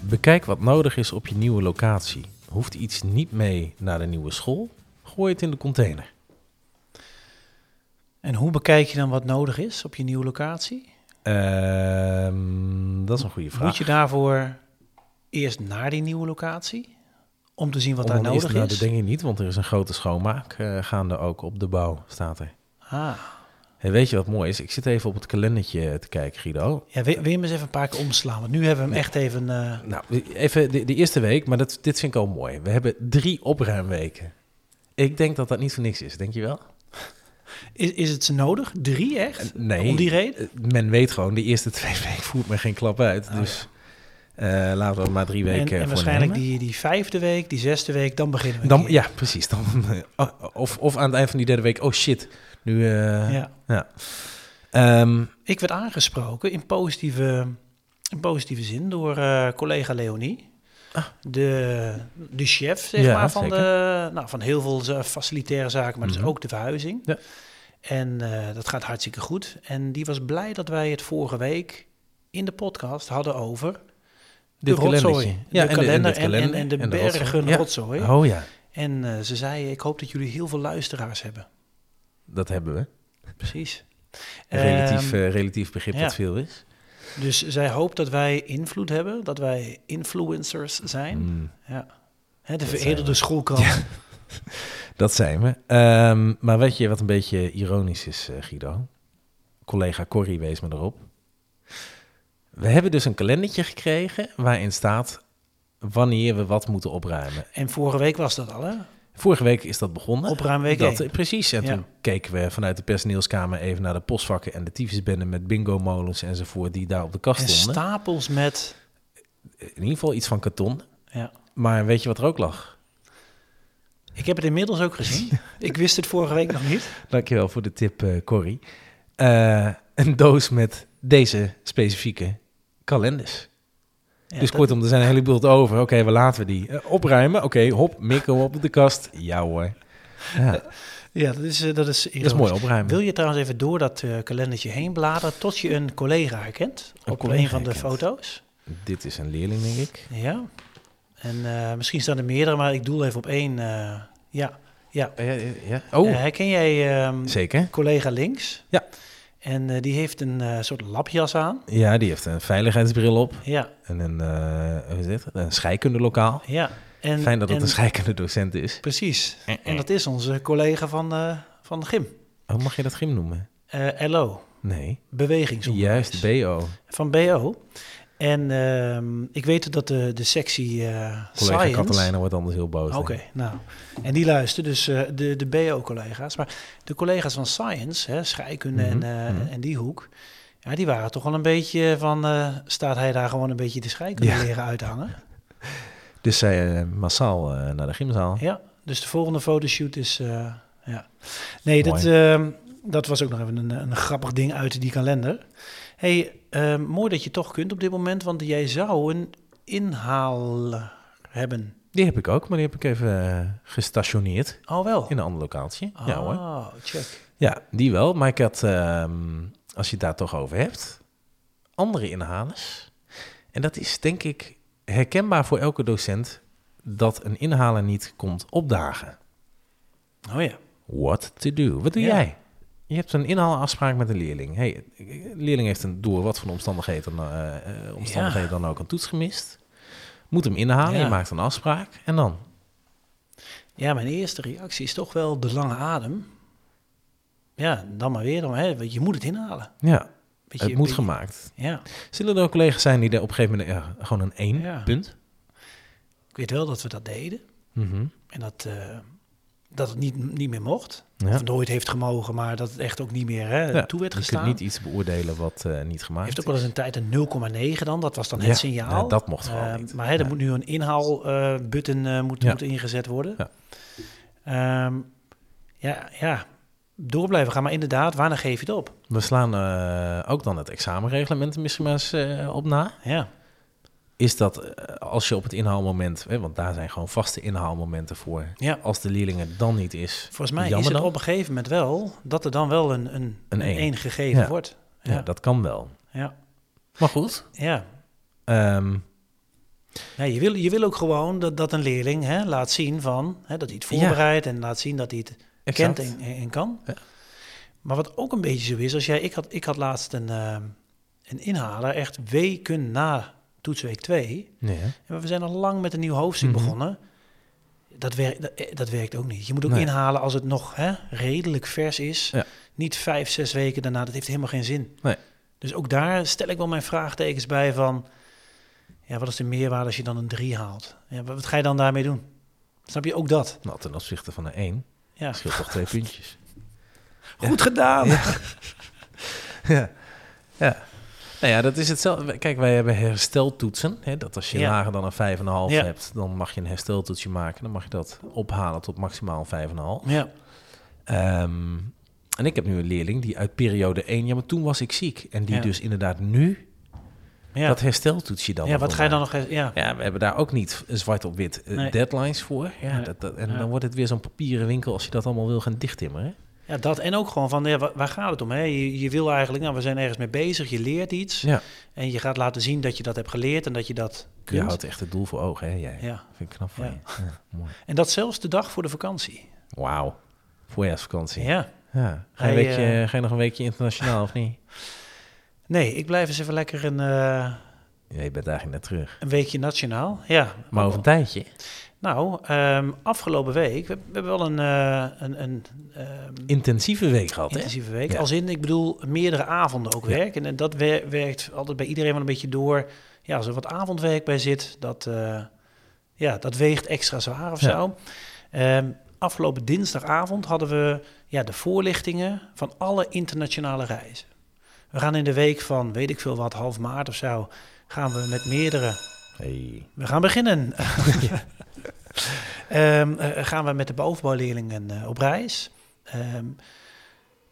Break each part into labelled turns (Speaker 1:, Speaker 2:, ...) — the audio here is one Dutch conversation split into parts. Speaker 1: Bekijk wat nodig is op je nieuwe locatie. Hoeft iets niet mee naar de nieuwe school? Gooi het in de container.
Speaker 2: En hoe bekijk je dan wat nodig is op je nieuwe locatie?
Speaker 1: Ehm, dat is een goede vraag.
Speaker 2: Moet je daarvoor eerst naar die nieuwe locatie? Om te zien wat daar
Speaker 1: Om-
Speaker 2: nodig
Speaker 1: Nou,
Speaker 2: is?
Speaker 1: dat denk ik niet, want er is een grote schoonmaak eh, gaande ook op de bouw, staat er.
Speaker 2: ah.
Speaker 1: Hey, weet je wat mooi is? Ik zit even op het kalendertje te kijken, Guido.
Speaker 2: ja, wil, wil je hem eens even een paar keer omslaan? Want nu hebben we hem echt even... eh,
Speaker 1: Nou, even de, de eerste week, maar dat, dit vind ik al mooi. We hebben drie opruimweken. Ik denk dat dat niet voor niks is, denk je wel?
Speaker 2: is, is het ze nodig? Drie echt?
Speaker 1: Nee.
Speaker 2: Om die reden?
Speaker 1: Eh, Men weet gewoon, de eerste twee weken voert men geen klap uit. dus eh, laten we er maar drie weken
Speaker 2: Oh, En, en
Speaker 1: voor
Speaker 2: waarschijnlijk
Speaker 1: nemen.
Speaker 2: die, die vijfde week, die zesde week, dan beginnen we
Speaker 1: Dan,
Speaker 2: een keer.
Speaker 1: ja, precies. Dan, eh, of, of aan het eind van die derde week, oh shit, nu... eh,
Speaker 2: Ja.
Speaker 1: ehm,
Speaker 2: Ik werd aangesproken in positieve, in positieve zin door eh, collega Leonie. De, de chef, zeg
Speaker 1: Ah. Ja,
Speaker 2: maar, van, de, nou, van heel veel za- facilitaire zaken, maar
Speaker 1: Mhm.
Speaker 2: dus ook de verhuizing.
Speaker 1: Ja.
Speaker 2: En eh, dat gaat hartstikke goed. En die was blij dat wij het vorige week in de podcast hadden over de
Speaker 1: Dit
Speaker 2: rotzooi.
Speaker 1: kalendertje. Ja, en
Speaker 2: de
Speaker 1: de- en
Speaker 2: kalender
Speaker 1: dit
Speaker 2: en, en,
Speaker 1: kalender
Speaker 2: en de
Speaker 1: en de
Speaker 2: bergen
Speaker 1: rotzooi. Ja.
Speaker 2: rotzooi.
Speaker 1: Oh ja,
Speaker 2: En eh, ze zei, ik hoop dat jullie heel veel luisteraars hebben.
Speaker 1: dat hebben we.
Speaker 2: Precies.
Speaker 1: Een relatief,
Speaker 2: Ehm,
Speaker 1: eh, relatief begrip
Speaker 2: ja.
Speaker 1: dat veel is.
Speaker 2: Dus zij hoopt dat wij invloed hebben, dat wij influencers zijn.
Speaker 1: Mm,
Speaker 2: Hè, de
Speaker 1: Dat zijn
Speaker 2: veredelde
Speaker 1: we.
Speaker 2: schoolkrant.
Speaker 1: dat zijn we. Ehm, maar weet je wat een beetje ironisch is, eh, Guido? Collega Corrie wees me erop. We hebben dus een kalendertje gekregen waarin staat wanneer we wat moeten opruimen.
Speaker 2: En vorige week was dat al, hè?
Speaker 1: Vorige week is dat begonnen.
Speaker 2: Opruimweek
Speaker 1: Dat,
Speaker 2: één.
Speaker 1: precies. En
Speaker 2: Ja.
Speaker 1: toen keken we vanuit de personeelskamer even naar de postvakken en de tyfusbenden met bingo-molens enzovoort die daar op de kast
Speaker 2: En
Speaker 1: stonden.
Speaker 2: stapels met...
Speaker 1: In ieder geval iets van karton.
Speaker 2: Ja.
Speaker 1: Maar weet je wat er ook lag?
Speaker 2: Ik heb het inmiddels ook gezien. ik wist het vorige week nog niet.
Speaker 1: Dankjewel voor de tip, eh, Corrie. Eh, een doos met deze specifieke kalenders.
Speaker 2: Ja,
Speaker 1: dus
Speaker 2: dat-
Speaker 1: kortom, er zijn een heleboel te over. Oké, we laten we die Eh, opruimen. Oké, hop, mikkel op de kast. Ja hoor. Ja,
Speaker 2: Ja, dat is, eh, dat is,
Speaker 1: dat is mooi opruimen.
Speaker 2: Wil je trouwens even door dat eh, kalendertje heen bladeren tot je een collega herkent?
Speaker 1: Een
Speaker 2: op
Speaker 1: collega
Speaker 2: een van de
Speaker 1: herkent.
Speaker 2: foto's.
Speaker 1: Dit is een leerling, denk ik.
Speaker 2: Ja. En eh, misschien staan er meerdere, maar ik doel even op één. eh, ja. ja.
Speaker 1: Ja, ja, ja. Oh,
Speaker 2: Eh, herken jij ehm,
Speaker 1: zeker.
Speaker 2: collega links?
Speaker 1: Ja.
Speaker 2: En eh, die heeft een eh, soort lapjas aan.
Speaker 1: Ja, die heeft een veiligheidsbril op
Speaker 2: Ja,
Speaker 1: en een, eh hoe is het? een scheikundelokaal.
Speaker 2: ja. En,
Speaker 1: Fijn dat het
Speaker 2: en-
Speaker 1: een scheikundedocent is.
Speaker 2: Precies.
Speaker 1: Eh,
Speaker 2: En dat is onze collega van, eh van Gym.
Speaker 1: Oh, mag je dat gym noemen?
Speaker 2: Eh, LO,
Speaker 1: Nee,
Speaker 2: bewegingsonderwijs.
Speaker 1: juist BO.
Speaker 2: Van BO. En ehm, ik weet dat de, de sectie eh
Speaker 1: Collega
Speaker 2: Science...
Speaker 1: Catalijnen wordt anders heel boos.
Speaker 2: Oké,
Speaker 1: denk ik.
Speaker 2: nou. En die luisteren, dus eh, de, de BO-collega's. Maar de collega's van Science, hè, scheikunde
Speaker 1: Mhm,
Speaker 2: en, eh,
Speaker 1: mhm.
Speaker 2: en die hoek... Ja, die waren toch wel een beetje van... eh, staat hij daar gewoon een beetje de scheikunde
Speaker 1: Ja.
Speaker 2: leren uithangen?
Speaker 1: Dus zij eh, massaal eh, naar de gymzaal.
Speaker 2: Ja, dus de volgende fotoshoot is... eh, ja. Nee, dat,
Speaker 1: Mooi.
Speaker 2: ehm, dat was ook nog even een, een grappig ding uit die kalender. hey, ehm, mooi dat je toch kunt op dit moment, want jij zou een inhaal hebben.
Speaker 1: Die heb ik ook, maar die heb ik even eh, gestationeerd
Speaker 2: Oh wel.
Speaker 1: in een ander lokaaltje. Ja hoor.
Speaker 2: Oh, check.
Speaker 1: Ja, die wel. Maar ik had, ehm, als je het daar toch over hebt, andere inhalers. En dat is denk ik herkenbaar voor elke docent dat een inhaler niet komt opdagen.
Speaker 2: Oh ja.
Speaker 1: What to do? Wat doe
Speaker 2: Ja.
Speaker 1: jij? Je hebt een inhaalafspraak met een leerling. Hey, een leerling heeft een, door wat voor omstandigheden, dan, eh, eh, omstandigheden dan ook een toets gemist. Moet hem inhalen,
Speaker 2: Ja.
Speaker 1: je maakt een afspraak. En dan?
Speaker 2: Ja, mijn eerste reactie is toch wel de lange adem. Ja, dan maar weer. Dan, hè, want je moet het inhalen.
Speaker 1: Ja,
Speaker 2: Beetje-
Speaker 1: het moet
Speaker 2: beetje-
Speaker 1: gemaakt.
Speaker 2: Ja.
Speaker 1: Zullen er ook collega's zijn die er op een gegeven moment ja, gewoon een 1
Speaker 2: Ja.
Speaker 1: punt?
Speaker 2: Ik weet wel dat we dat deden.
Speaker 1: Mhm.
Speaker 2: En dat eh, dat het niet, niet meer mocht.
Speaker 1: Ja.
Speaker 2: Of nooit heeft gemogen, maar dat het echt ook niet meer hè,
Speaker 1: Ja,
Speaker 2: Eh, toe werd
Speaker 1: Je kunt
Speaker 2: gestaan.
Speaker 1: niet iets beoordelen wat eh, niet gemaakt
Speaker 2: heeft ook
Speaker 1: is.
Speaker 2: wel eens een tijd een 0,9 dan. Dat was dan
Speaker 1: Ja,
Speaker 2: het signaal.
Speaker 1: nee, dat mocht gewoon
Speaker 2: Eh,
Speaker 1: niet.
Speaker 2: Maar hè, er
Speaker 1: Ja.
Speaker 2: moet nu een inhaalbutton button eh, moet,
Speaker 1: Ja.
Speaker 2: moet ingezet worden.
Speaker 1: Ja.
Speaker 2: Ja. ja, ja, door blijven gaan. Maar inderdaad, wanneer geef je het op?
Speaker 1: We slaan eh, ook dan het examenreglement er misschien maar eens eh, op na.
Speaker 2: Ja,
Speaker 1: Is dat eh, als je op het inhaalmoment, hè, want daar zijn gewoon vaste inhaalmomenten voor.
Speaker 2: ja.
Speaker 1: Als de leerling er dan niet is,
Speaker 2: Volgens mij
Speaker 1: jammer
Speaker 2: is het
Speaker 1: dan.
Speaker 2: op een gegeven moment wel dat er dan wel een, een, een,
Speaker 1: één.
Speaker 2: één gegeven
Speaker 1: Ja.
Speaker 2: wordt.
Speaker 1: Ja,
Speaker 2: Ja.
Speaker 1: dat kan wel.
Speaker 2: Ja.
Speaker 1: Maar goed,
Speaker 2: Ja.
Speaker 1: ehm,
Speaker 2: Ja, je, wil, je wil ook gewoon dat, dat een leerling hè, laat zien van, hè, dat hij het
Speaker 1: Ja.
Speaker 2: voorbereidt en laat zien dat hij het
Speaker 1: exact.
Speaker 2: kent en, en kan.
Speaker 1: Ja.
Speaker 2: Maar wat ook een beetje zo is, als jij, ik, had, ik had laatst een, ehm, een inhaler, echt weken na toetsweek 2.
Speaker 1: Nee, hè?
Speaker 2: En we zijn al lang met een nieuw hoofdstuk
Speaker 1: Mhm.
Speaker 2: begonnen. Dat, werkt dat, eh, dat werkt ook niet. Je moet ook
Speaker 1: Nee.
Speaker 2: inhalen als het nog hè, redelijk vers is.
Speaker 1: Ja.
Speaker 2: Niet vijf, zes weken daarna, dat heeft helemaal geen zin.
Speaker 1: Nee.
Speaker 2: Dus ook daar stel ik wel mijn vraagtekens bij van... Ja, wat is de meerwaarde als je dan een drie haalt? Ja, wat wat ga je dan daarmee doen? Snap je ook dat?
Speaker 1: Nou, ten opzichte van een 1
Speaker 2: Ja.
Speaker 1: scheelt toch twee puntjes.
Speaker 2: Goed gedaan!
Speaker 1: ja. ja. Nou ja, dat is hetzelfde. Kijk, wij hebben hersteltoetsen. Hè? Dat als je
Speaker 2: Ja.
Speaker 1: lager dan een 5,5
Speaker 2: Ja.
Speaker 1: hebt, dan mag je een hersteltoetsje maken. Dan mag je dat ophalen tot maximaal 5,5.
Speaker 2: Ja,
Speaker 1: Ehm, en ik heb nu een leerling die uit periode 1, ja, maar toen was ik ziek. En die
Speaker 2: Ja.
Speaker 1: dus inderdaad nu
Speaker 2: ja.
Speaker 1: dat hersteltoetsje dan.
Speaker 2: ja wat
Speaker 1: wil
Speaker 2: ga je dan
Speaker 1: maken.
Speaker 2: nog... eens- Ja,
Speaker 1: Ja, we hebben daar ook niet zwart op wit eh,
Speaker 2: Nee.
Speaker 1: deadlines voor. Ja,
Speaker 2: Nee.
Speaker 1: dat, dat- en
Speaker 2: Ja.
Speaker 1: dan wordt het weer zo'n papieren winkel als je dat allemaal wil gaan dichttimmeren.
Speaker 2: ja, dat en ook gewoon van, ja, wa- waar gaat het om? Hè? Je, je wil eigenlijk, nou, we zijn ergens mee bezig, je leert iets.
Speaker 1: Ja.
Speaker 2: En je gaat laten zien dat je dat hebt geleerd en dat je dat
Speaker 1: Je
Speaker 2: kunt.
Speaker 1: houdt echt het doel voor ogen, hè? Jij.
Speaker 2: Ja.
Speaker 1: Vind ik knap van
Speaker 2: Ja.
Speaker 1: je. Ja, mooi.
Speaker 2: En dat zelfs de dag voor de vakantie.
Speaker 1: Wauw. Voorjaarsvakantie. Ja.
Speaker 2: Ja.
Speaker 1: Ga, je
Speaker 2: Hij,
Speaker 1: weekje,
Speaker 2: eh,
Speaker 1: ga je nog een weekje internationaal of niet?
Speaker 2: Nee, ik blijf eens even lekker een, eh,
Speaker 1: Ja, je bent eigenlijk net terug.
Speaker 2: een weekje nationaal. Ja.
Speaker 1: Maar over een tijdje.
Speaker 2: Nou, ehm, afgelopen week, we, we hebben wel een, eh, een, een ehm,
Speaker 1: Intensieve week gehad, hè?
Speaker 2: intensieve week.
Speaker 1: Ja.
Speaker 2: Als in, ik bedoel, meerdere avonden ook
Speaker 1: Ja.
Speaker 2: werken. En dat wer- werkt altijd bij iedereen wel een beetje door. Ja, als er wat avondwerk bij zit, dat, eh, ja, dat weegt extra zwaar of
Speaker 1: Ja.
Speaker 2: zo. Ehm, afgelopen dinsdagavond hadden we ja, de voorlichtingen van alle internationale reizen. We gaan in de week van, weet ik veel wat, half maart of zo, gaan we met meerdere...
Speaker 1: Hey.
Speaker 2: We gaan beginnen. Ehm, eh, gaan we met de bovenbouwleerlingen eh, op reis. Ehm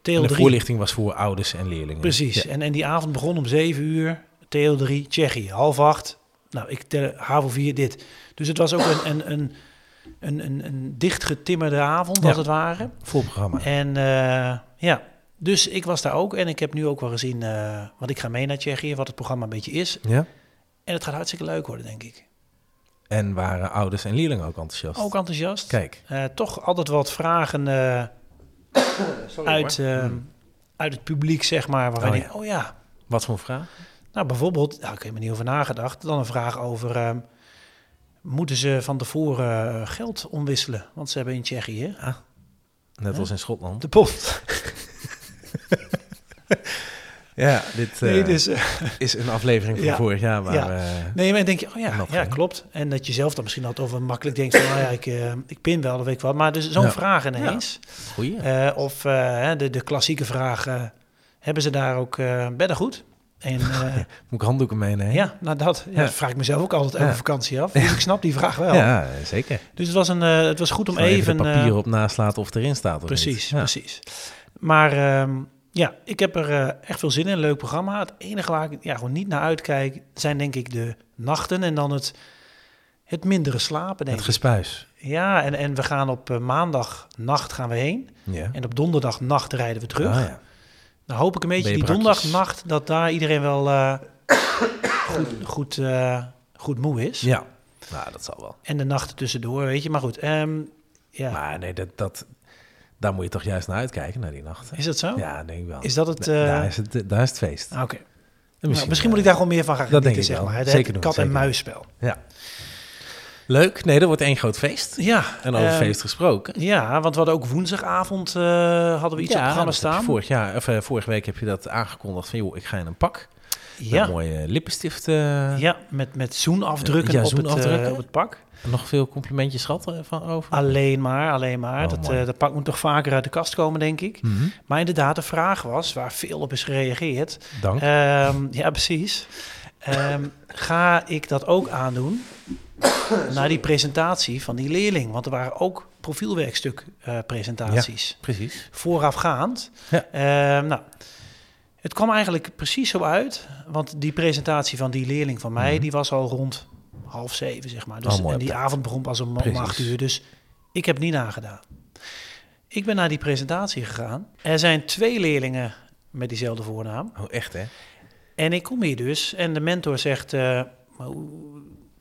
Speaker 1: En
Speaker 2: TL3
Speaker 1: De voorlichting was voor ouders en leerlingen.
Speaker 2: Precies.
Speaker 1: Ja.
Speaker 2: En, en die avond begon om 7 uur. Theo 3, Tsjechië. Half 8. Nou, ik tel HAVO 4 dit. Dus het was ook een, een, een, een, een, een dichtgetimmerde avond,
Speaker 1: Ja.
Speaker 2: als het ware.
Speaker 1: Vol programma.
Speaker 2: En eh, ja, dus ik was daar ook. En ik heb nu ook wel gezien, eh want ik ga mee naar Tsjechië, wat het programma een beetje is.
Speaker 1: Ja.
Speaker 2: En het gaat hartstikke leuk worden, denk ik.
Speaker 1: En waren ouders en leerlingen ook enthousiast?
Speaker 2: Ook enthousiast.
Speaker 1: Kijk.
Speaker 2: Eh, toch altijd wat vragen eh, uit, eh, uit het publiek, zeg maar. Waarvan
Speaker 1: Hmm. Oh,
Speaker 2: ik,
Speaker 1: ja.
Speaker 2: oh ja,
Speaker 1: Wat voor een vraag?
Speaker 2: Nou, bijvoorbeeld, daar heb ik me niet over nagedacht. Dan een vraag over: ehm, moeten ze van tevoren eh, geld omwisselen? Want ze hebben in Tsjechië
Speaker 1: Ah. Net
Speaker 2: Huh?
Speaker 1: als in Schotland.
Speaker 2: de pond.
Speaker 1: Ja, dit eh,
Speaker 2: Nee, dus, eh,
Speaker 1: is een aflevering van
Speaker 2: Ja.
Speaker 1: vorig jaar. Maar,
Speaker 2: Ja.
Speaker 1: eh,
Speaker 2: nee, maar dan denk je: oh ja,
Speaker 1: Nog
Speaker 2: ja
Speaker 1: geen.
Speaker 2: klopt. En dat je zelf dan misschien altijd over makkelijk denkt: van, nou ja, ik, eh, ik pin wel, dat weet ik wat. Maar dus zo'n
Speaker 1: Ja.
Speaker 2: vraag ineens.
Speaker 1: goeie.
Speaker 2: Eh, of eh, hè, de, de klassieke vraag: eh, hebben ze daar ook eh beddengoed? En eh,
Speaker 1: Moet ik handdoeken meenemen?
Speaker 2: ja, nou dat, ja,
Speaker 1: Ja.
Speaker 2: dat vraag ik mezelf ook altijd elke
Speaker 1: Ja.
Speaker 2: vakantie af. Dus ik snap die vraag wel.
Speaker 1: Ja, zeker.
Speaker 2: Dus het was, een, eh, het was goed om
Speaker 1: Om even,
Speaker 2: even
Speaker 1: de
Speaker 2: eh,
Speaker 1: papieren op naslaat of het erin staat. Of
Speaker 2: Precies,
Speaker 1: niet. Ja.
Speaker 2: precies. Maar ehm, ja, ik heb er eh, echt veel zin in. Leuk programma. Het enige waar ik ja, gewoon niet naar uitkijk zijn denk ik de nachten en dan het, het mindere slapen. Denk
Speaker 1: Het
Speaker 2: ik.
Speaker 1: gespuis.
Speaker 2: Ja, en, en we gaan op eh, maandagnacht gaan we heen.
Speaker 1: Ja.
Speaker 2: En op donderdagnacht rijden we terug.
Speaker 1: Ah, ja.
Speaker 2: Dan hoop ik een beetje
Speaker 1: Ben je
Speaker 2: die
Speaker 1: brakjes?
Speaker 2: donderdagnacht dat daar iedereen wel eh, goed, goed, eh, goed moe is.
Speaker 1: ja. Nou, dat zal wel.
Speaker 2: En de nachten tussendoor, weet je. Maar goed, ehm, ja.
Speaker 1: Maar nee, dat, dat, daar moet je toch juist naar uitkijken, naar die nachten.
Speaker 2: is dat zo?
Speaker 1: Ja, denk ik wel.
Speaker 2: Is dat het...
Speaker 1: Da-
Speaker 2: eh,
Speaker 1: daar, is het, daar is het feest.
Speaker 2: ah, Oké.
Speaker 1: En
Speaker 2: Nou, misschien moet ik daar gewoon meer van gaan
Speaker 1: dat
Speaker 2: genieten,
Speaker 1: denk ik
Speaker 2: zeg
Speaker 1: wel.
Speaker 2: maar. Het,
Speaker 1: Zeker
Speaker 2: het
Speaker 1: doen,
Speaker 2: kat- en
Speaker 1: zeker doen.
Speaker 2: muisspel.
Speaker 1: Ja. Leuk. Nee, dat wordt één groot feest.
Speaker 2: Ja.
Speaker 1: En over
Speaker 2: ehm,
Speaker 1: feest gesproken.
Speaker 2: Ja, want we hadden ook woensdagavond eh, hadden we iets op
Speaker 1: dat
Speaker 2: programma
Speaker 1: heb je
Speaker 2: staan.
Speaker 1: Vorig jaar, of, eh, vorige week heb je dat aangekondigd van, joh, ik ga in een pak. Ja.
Speaker 2: Ja,
Speaker 1: Met mooie lippenstift. eh,
Speaker 2: ja met, met zoenafdrukken,
Speaker 1: Ja,
Speaker 2: op, Het,
Speaker 1: zoenafdrukken.
Speaker 2: eh, op het pak.
Speaker 1: Nog veel complimentjes gehad eh, van over.
Speaker 2: Alleen maar, alleen maar.
Speaker 1: Oh,
Speaker 2: dat,
Speaker 1: mooi.
Speaker 2: eh, dat pak moet toch vaker uit de kast komen, denk ik.
Speaker 1: Mhm,
Speaker 2: Maar inderdaad, de vraag was, waar veel op is gereageerd,
Speaker 1: Dank.
Speaker 2: Ehm, ja, precies. Ehm, ga ik dat ook aandoen na die presentatie van die leerling? Want er waren ook profielwerkstuk eh, presentaties
Speaker 1: Precies.
Speaker 2: voorafgaand.
Speaker 1: Ja.
Speaker 2: Ehm, nou, het kwam eigenlijk precies zo uit, want die presentatie van die leerling van mij,
Speaker 1: Mhm.
Speaker 2: die was al rond half zeven, zeg maar.
Speaker 1: Oh,
Speaker 2: Dus,
Speaker 1: mooi
Speaker 2: en
Speaker 1: op
Speaker 2: die
Speaker 1: tijd.
Speaker 2: avond begon pas om, om
Speaker 1: Precies.
Speaker 2: acht uur, dus ik heb niet nagedaan. Ik ben naar die presentatie gegaan. Er zijn twee leerlingen met diezelfde voornaam.
Speaker 1: Oh, echt hè?
Speaker 2: En ik kom hier dus en de mentor zegt, eh, maar hoe-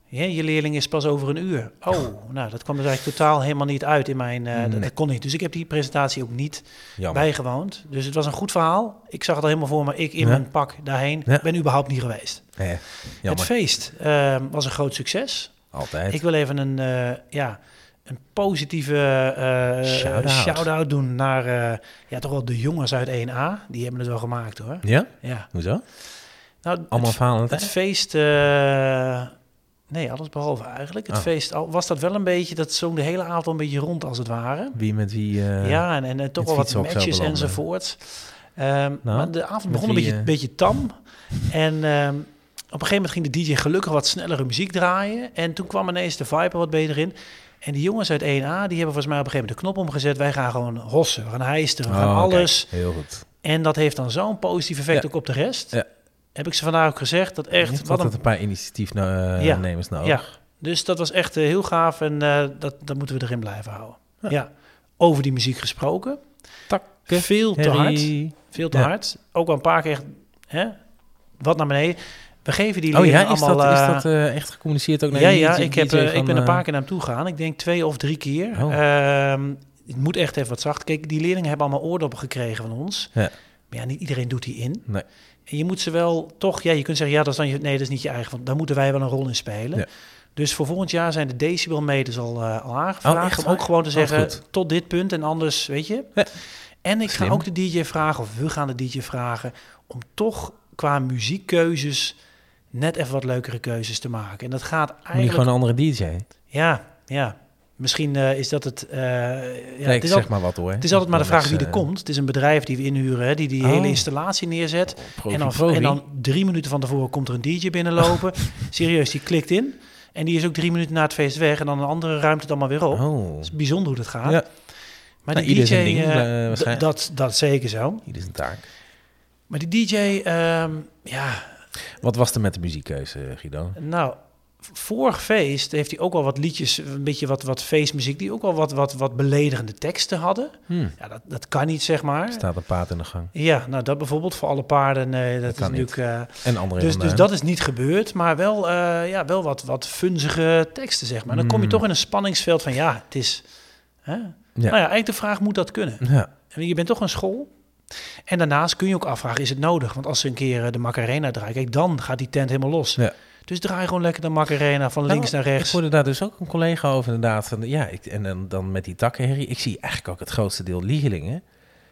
Speaker 2: ja, je leerling is pas over een uur. Oh, nou, dat kwam dus eigenlijk totaal helemaal niet uit in mijn... eh, dat-
Speaker 1: Nee.
Speaker 2: Dat kon niet. Dus ik heb die presentatie ook niet
Speaker 1: Jammer.
Speaker 2: bijgewoond. Dus het was een goed verhaal. Ik zag het al helemaal voor me. Ik in
Speaker 1: Ja.
Speaker 2: mijn pak daarheen
Speaker 1: Ja.
Speaker 2: ben überhaupt niet geweest.
Speaker 1: Eh, jammer.
Speaker 2: Het feest eh, was een groot succes.
Speaker 1: Altijd.
Speaker 2: Ik wil even een, eh, ja, een positieve eh,
Speaker 1: Shout-out.
Speaker 2: shout-out doen naar eh, ja, toch wel de jongens uit 1A. Die hebben het wel gemaakt hoor.
Speaker 1: Ja?
Speaker 2: Ja.
Speaker 1: Hoezo?
Speaker 2: Nou, het
Speaker 1: Allemaal verhalen aan het
Speaker 2: Het
Speaker 1: eind?
Speaker 2: feest, eh, nee, alles behalve eigenlijk. Het
Speaker 1: Ah.
Speaker 2: feest al was dat wel een beetje, dat zong de hele avond al een beetje rond als het ware.
Speaker 1: Wie met wie? eh,
Speaker 2: ja, en, en, eh, toch
Speaker 1: het
Speaker 2: wel wat
Speaker 1: fietshok zou
Speaker 2: matches
Speaker 1: belanden. Nou,
Speaker 2: enzovoort. Ehm, maar de avond
Speaker 1: met
Speaker 2: begon een
Speaker 1: wie,
Speaker 2: beetje,
Speaker 1: eh?
Speaker 2: beetje tam. En ehm, op een gegeven moment ging de DJ gelukkig wat snellere muziek draaien. En toen kwam ineens de vibe er wat beter in. En die jongens uit 1A, die hebben volgens mij op een gegeven moment de knop omgezet. Wij gaan gewoon hossen, we gaan hijsteren, we gaan
Speaker 1: Oh,
Speaker 2: alles.
Speaker 1: kijk, heel goed.
Speaker 2: En dat heeft dan zo'n positief effect
Speaker 1: Ja.
Speaker 2: ook op de rest.
Speaker 1: Ja.
Speaker 2: Heb ik ze vandaag ook gezegd, dat echt,
Speaker 1: Echt?
Speaker 2: wat
Speaker 1: Wat
Speaker 2: een
Speaker 1: een paar initiatiefnemers
Speaker 2: Ja.
Speaker 1: nemers nodig.
Speaker 2: Ja, dus dat was echt eh, heel gaaf en eh, dat, dat moeten we erin blijven houden. Ja. Over die muziek gesproken.
Speaker 1: Takken.
Speaker 2: Veel te hard.
Speaker 1: Harry.
Speaker 2: Veel te
Speaker 1: Ja.
Speaker 2: hard. Ook al een paar keer echt, hè, wat naar beneden. We geven die
Speaker 1: Oh
Speaker 2: leerlingen
Speaker 1: ja, is
Speaker 2: allemaal...
Speaker 1: dat, is
Speaker 2: eh,
Speaker 1: dat eh, echt gecommuniceerd ook naar
Speaker 2: ja,
Speaker 1: die
Speaker 2: ja
Speaker 1: DJ
Speaker 2: ik, heb, eh,
Speaker 1: van,
Speaker 2: ik ben een paar
Speaker 1: eh,
Speaker 2: keer naar hem toe gegaan. Ik denk twee of drie keer.
Speaker 1: Oh.
Speaker 2: Ehm, het moet echt even wat zacht. Kijk, die leerlingen hebben allemaal oordoppen gekregen van ons.
Speaker 1: Ja.
Speaker 2: Maar ja, niet iedereen doet die in.
Speaker 1: Nee.
Speaker 2: En je moet ze wel toch... Ja, je kunt zeggen, ja, dat is dan je, nee, dat is niet je eigen. Want daar moeten wij wel een rol in spelen.
Speaker 1: Ja.
Speaker 2: Dus voor volgend jaar zijn de decibelmeters al, eh, al aangevraagd.
Speaker 1: Oh, echt
Speaker 2: om ook
Speaker 1: waar?
Speaker 2: gewoon te
Speaker 1: Oh,
Speaker 2: zeggen,
Speaker 1: goed.
Speaker 2: tot dit punt en anders, weet je.
Speaker 1: Ja.
Speaker 2: En ik
Speaker 1: Slim.
Speaker 2: ga ook de DJ vragen, of we gaan de DJ vragen... om toch qua muziekkeuzes net even wat leukere keuzes te maken. En dat gaat
Speaker 1: Moet je
Speaker 2: eigenlijk...
Speaker 1: gewoon een andere DJ? Nee,
Speaker 2: Ja, ja. Misschien eh, is dat het... eh, ja,
Speaker 1: ik
Speaker 2: het, is
Speaker 1: zeg
Speaker 2: al,
Speaker 1: maar wat hoor. eh,
Speaker 2: het is altijd maar de vraag wie
Speaker 1: die
Speaker 2: er komt. Het is een bedrijf die we inhuren, hè, die die
Speaker 1: Oh.
Speaker 2: hele installatie neerzet. En dan, en dan drie minuten van tevoren komt er een DJ binnenlopen. Serieus, die klikt in. En die is ook drie minuten na het feest weg. En dan een andere ruimt het allemaal weer op.
Speaker 1: Oh.
Speaker 2: Het is bijzonder hoe dat gaat.
Speaker 1: Ja.
Speaker 2: Maar
Speaker 1: Nou,
Speaker 2: die
Speaker 1: ieder
Speaker 2: DJ,
Speaker 1: zijn ding,
Speaker 2: eh,
Speaker 1: eh,
Speaker 2: d-
Speaker 1: waarschijnlijk.
Speaker 2: dat, dat zeker zo.
Speaker 1: Hier is een taak.
Speaker 2: Maar die DJ, ehm, ja,
Speaker 1: Wat was er met de muziekkeuze, eh, Guido?
Speaker 2: nou, v- vorig feest heeft hij ook al wat liedjes, een beetje wat, wat feestmuziek, die ook al wat, wat, wat beledigende teksten hadden.
Speaker 1: Hm,
Speaker 2: Ja, dat, dat kan niet, zeg
Speaker 1: Er
Speaker 2: maar.
Speaker 1: staat een paard in de gang.
Speaker 2: Ja, nou dat bijvoorbeeld voor alle paarden, nee, dat, is
Speaker 1: kan niet.
Speaker 2: natuurlijk... eh,
Speaker 1: En andere
Speaker 2: Dus,
Speaker 1: van,
Speaker 2: dus
Speaker 1: eh,
Speaker 2: dat is niet gebeurd, maar wel, eh, ja, wel wat, wat funzige teksten, zeg maar. Dan kom je
Speaker 1: Mm.
Speaker 2: toch in een spanningsveld van, ja, het is... Hè? Nou Hmm. ja, eigenlijk de vraag, moet dat kunnen?
Speaker 1: Ja.
Speaker 2: En Je bent toch een school? En daarnaast kun je ook afvragen, is het nodig? Want als ze een keer eh, de Macarena draaien, kijk, dan gaat die tent helemaal los.
Speaker 1: Ja.
Speaker 2: Dus draai gewoon lekker de Macarena van links
Speaker 1: Nou,
Speaker 2: naar rechts.
Speaker 1: Ik hoorde daar dus ook een collega over inderdaad. Van, ja, ik, en dan, dan met die takkenherrie. Ik zie eigenlijk ook het grootste deel leerlingen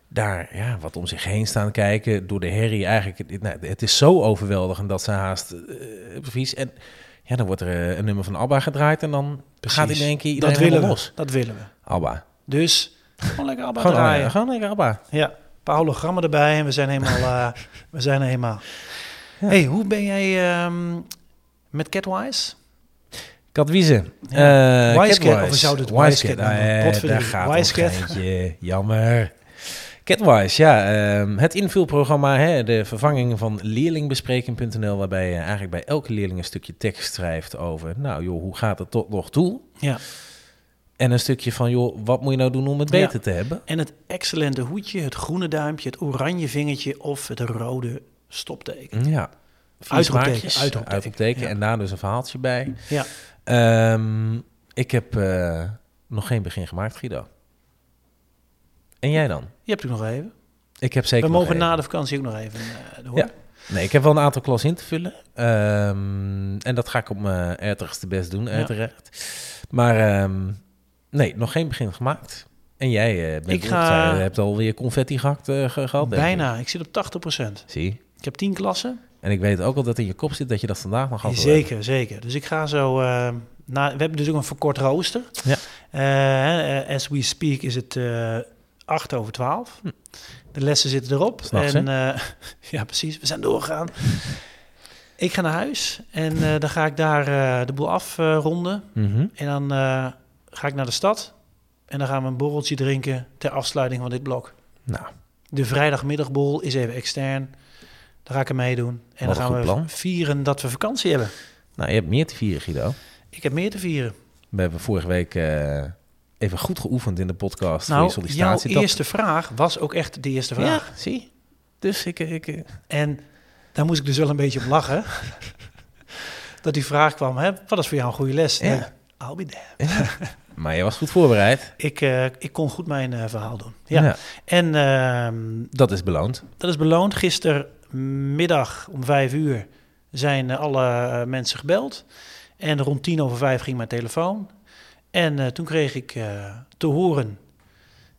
Speaker 1: daar ja, wat om zich heen staan kijken. Door de herrie eigenlijk. het- Nou, het is zo overweldigend dat ze haast eh, precies. En ja, dan wordt er eh, een nummer van ABBA gedraaid en dan gaat in één keer iedereen
Speaker 2: dat willen we.
Speaker 1: helemaal los.
Speaker 2: Dat willen we.
Speaker 1: ABBA.
Speaker 2: Dus gewoon lekker allemaal
Speaker 1: Gewoon,
Speaker 2: draaien.
Speaker 1: eh, gewoon lekker ABBA.
Speaker 2: Ja, een paar hologrammen erbij en we zijn helemaal. eh, we zijn er helemaal. Hey, hoe ben jij ehm, met Catwise?
Speaker 1: Catwiezen.
Speaker 2: Ja.
Speaker 1: Eh,
Speaker 2: Wisecat,
Speaker 1: Catwise.
Speaker 2: of we zouden het
Speaker 1: Wisecat,
Speaker 2: Wisecat noemen.
Speaker 1: eh,
Speaker 2: Potverdorie.
Speaker 1: daar gaat nog
Speaker 2: Wisecat.
Speaker 1: eentje. Jammer. Catwise, ja. ehm, het invulprogramma, hè, de vervanging van leerlingbespreking.nl... waarbij je eigenlijk bij elke leerling een stukje tekst schrijft over... nou joh, hoe gaat het tot nog toe?
Speaker 2: Ja.
Speaker 1: En een stukje van, joh, wat moet je nou doen om het beter
Speaker 2: Ja.
Speaker 1: te hebben?
Speaker 2: En het excellente hoedje, het groene duimpje, het oranje vingertje of het rode stopteken.
Speaker 1: Ja. Vier
Speaker 2: Uitroepteken,
Speaker 1: smaakjes,
Speaker 2: uitroepteken,
Speaker 1: uitroepteken,
Speaker 2: ja.
Speaker 1: En daar dus een verhaaltje bij.
Speaker 2: Ja.
Speaker 1: Ehm, ik heb eh, nog geen begin gemaakt, Guido. En jij dan?
Speaker 2: Je hebt het nog even.
Speaker 1: Ik heb zeker
Speaker 2: we
Speaker 1: nog
Speaker 2: mogen
Speaker 1: één.
Speaker 2: na de vakantie ook nog even eh door.
Speaker 1: Ja. Nee, ik heb wel een aantal klas in te vullen. Ehm, en dat ga ik op mijn ertigste best doen, uiteraard. Maar ehm, nee, nog geen begin gemaakt. En jij eh, bent
Speaker 2: Ik ga-
Speaker 1: je hebt alweer confetti gehakt, eh, ge- gehad, denk ik.
Speaker 2: Bijna. Ik zit op 80%.
Speaker 1: Zie.
Speaker 2: Ik heb 10 klassen.
Speaker 1: En ik weet ook al dat in je kop zit dat je dat vandaag nog gaat
Speaker 2: Zeker, zeker. Dus ik ga zo. eh, na, we hebben dus ook een verkort rooster.
Speaker 1: Ja.
Speaker 2: Eh, eh, as we speak is het eh 8 over 12.
Speaker 1: Hm.
Speaker 2: De lessen zitten erop.
Speaker 1: S'nachts,
Speaker 2: en eh, ja, precies. We zijn doorgegaan. ik ga naar huis en eh, dan ga ik daar eh, de boel afronden.
Speaker 1: Mhm.
Speaker 2: en dan eh, ga ik naar de stad. En dan gaan we een borreltje drinken ter afsluiting van dit blok.
Speaker 1: Nou,
Speaker 2: De vrijdagmiddagborrel is even extern. Daar ga ik aan meedoen. En
Speaker 1: Wat
Speaker 2: dan
Speaker 1: een
Speaker 2: gaan we
Speaker 1: goed plan.
Speaker 2: vieren dat we vakantie hebben.
Speaker 1: nou, je hebt meer te vieren, Guido.
Speaker 2: Ik heb meer te vieren.
Speaker 1: We hebben vorige week eh, even goed geoefend in de podcast. voor je
Speaker 2: nou, jouw
Speaker 1: sollicitatie. Dat-
Speaker 2: eerste vraag was ook echt de eerste vraag.
Speaker 1: Ja, zie. Dus ik... ik eh,
Speaker 2: En daar moest ik dus wel een beetje om lachen. dat die vraag kwam, hè, wat is voor jou een goede les?
Speaker 1: Ja.
Speaker 2: Nee, I'll be there.
Speaker 1: maar je was goed voorbereid.
Speaker 2: Ik, eh, ik kon goed mijn eh, verhaal doen. Ja.
Speaker 1: Ja,
Speaker 2: En ehm,
Speaker 1: dat is beloond.
Speaker 2: dat is beloond. Gistermiddag om vijf uur zijn eh, alle eh, mensen gebeld. En rond tien over vijf ging mijn telefoon. En eh, toen kreeg ik eh, te horen...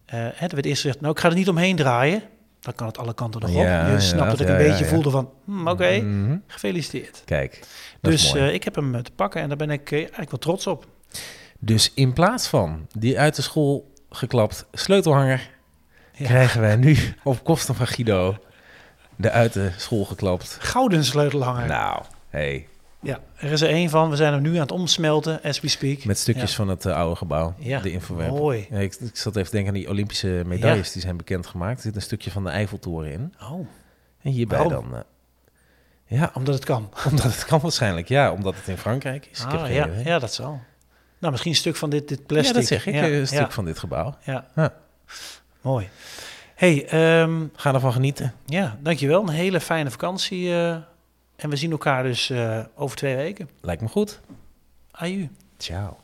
Speaker 2: eh, hè, er werd eerst gezegd, nou ik ga er niet omheen draaien. Dan kan het alle kanten nog op.
Speaker 1: Ja,
Speaker 2: je snapt dat ik
Speaker 1: inderdaad.
Speaker 2: een
Speaker 1: Ja, ja,
Speaker 2: beetje
Speaker 1: ja.
Speaker 2: voelde van, hmm, oké,
Speaker 1: Mhm.
Speaker 2: gefeliciteerd.
Speaker 1: Kijk, dat is
Speaker 2: Dus
Speaker 1: mooi.
Speaker 2: eh, ik heb hem eh, te pakken en daar ben ik eh, eigenlijk wel trots op.
Speaker 1: dus in plaats van die uit de school geklapt sleutelhanger...
Speaker 2: Ja.
Speaker 1: krijgen wij nu op kosten van Guido de uit de school geklapt.
Speaker 2: Gouden sleutelhanger.
Speaker 1: Nou, hey,
Speaker 2: Ja, er is er één van. We zijn hem nu aan het omsmelten, as we speak.
Speaker 1: met stukjes
Speaker 2: Ja.
Speaker 1: van het eh, oude gebouw,
Speaker 2: Ja,
Speaker 1: de infowerper.
Speaker 2: mooi.
Speaker 1: Ja, ik, ik zat even te denken aan die Olympische medailles die zijn bekendgemaakt. Er zit een stukje van de Eiffeltoren in.
Speaker 2: Oh,
Speaker 1: En hierbij
Speaker 2: Waarom?
Speaker 1: dan... eh, ja,
Speaker 2: omdat het kan.
Speaker 1: Omdat het kan waarschijnlijk, ja. Omdat het in Frankrijk is. Ik heb
Speaker 2: Ah,
Speaker 1: geen
Speaker 2: ja,
Speaker 1: idee.
Speaker 2: ja, dat zal. Nou, misschien een stuk van dit, dit plastic.
Speaker 1: Ja, dat zeg ik. eh,
Speaker 2: Ja,
Speaker 1: een stuk
Speaker 2: ja,
Speaker 1: van dit gebouw.
Speaker 2: ja.
Speaker 1: Ja.
Speaker 2: mooi. hey, ehm,
Speaker 1: Ga ervan genieten.
Speaker 2: ja, dankjewel. Een hele fijne vakantie. eh, en we zien elkaar dus eh, over twee weken.
Speaker 1: Lijkt me goed.
Speaker 2: Aju.
Speaker 1: Ciao.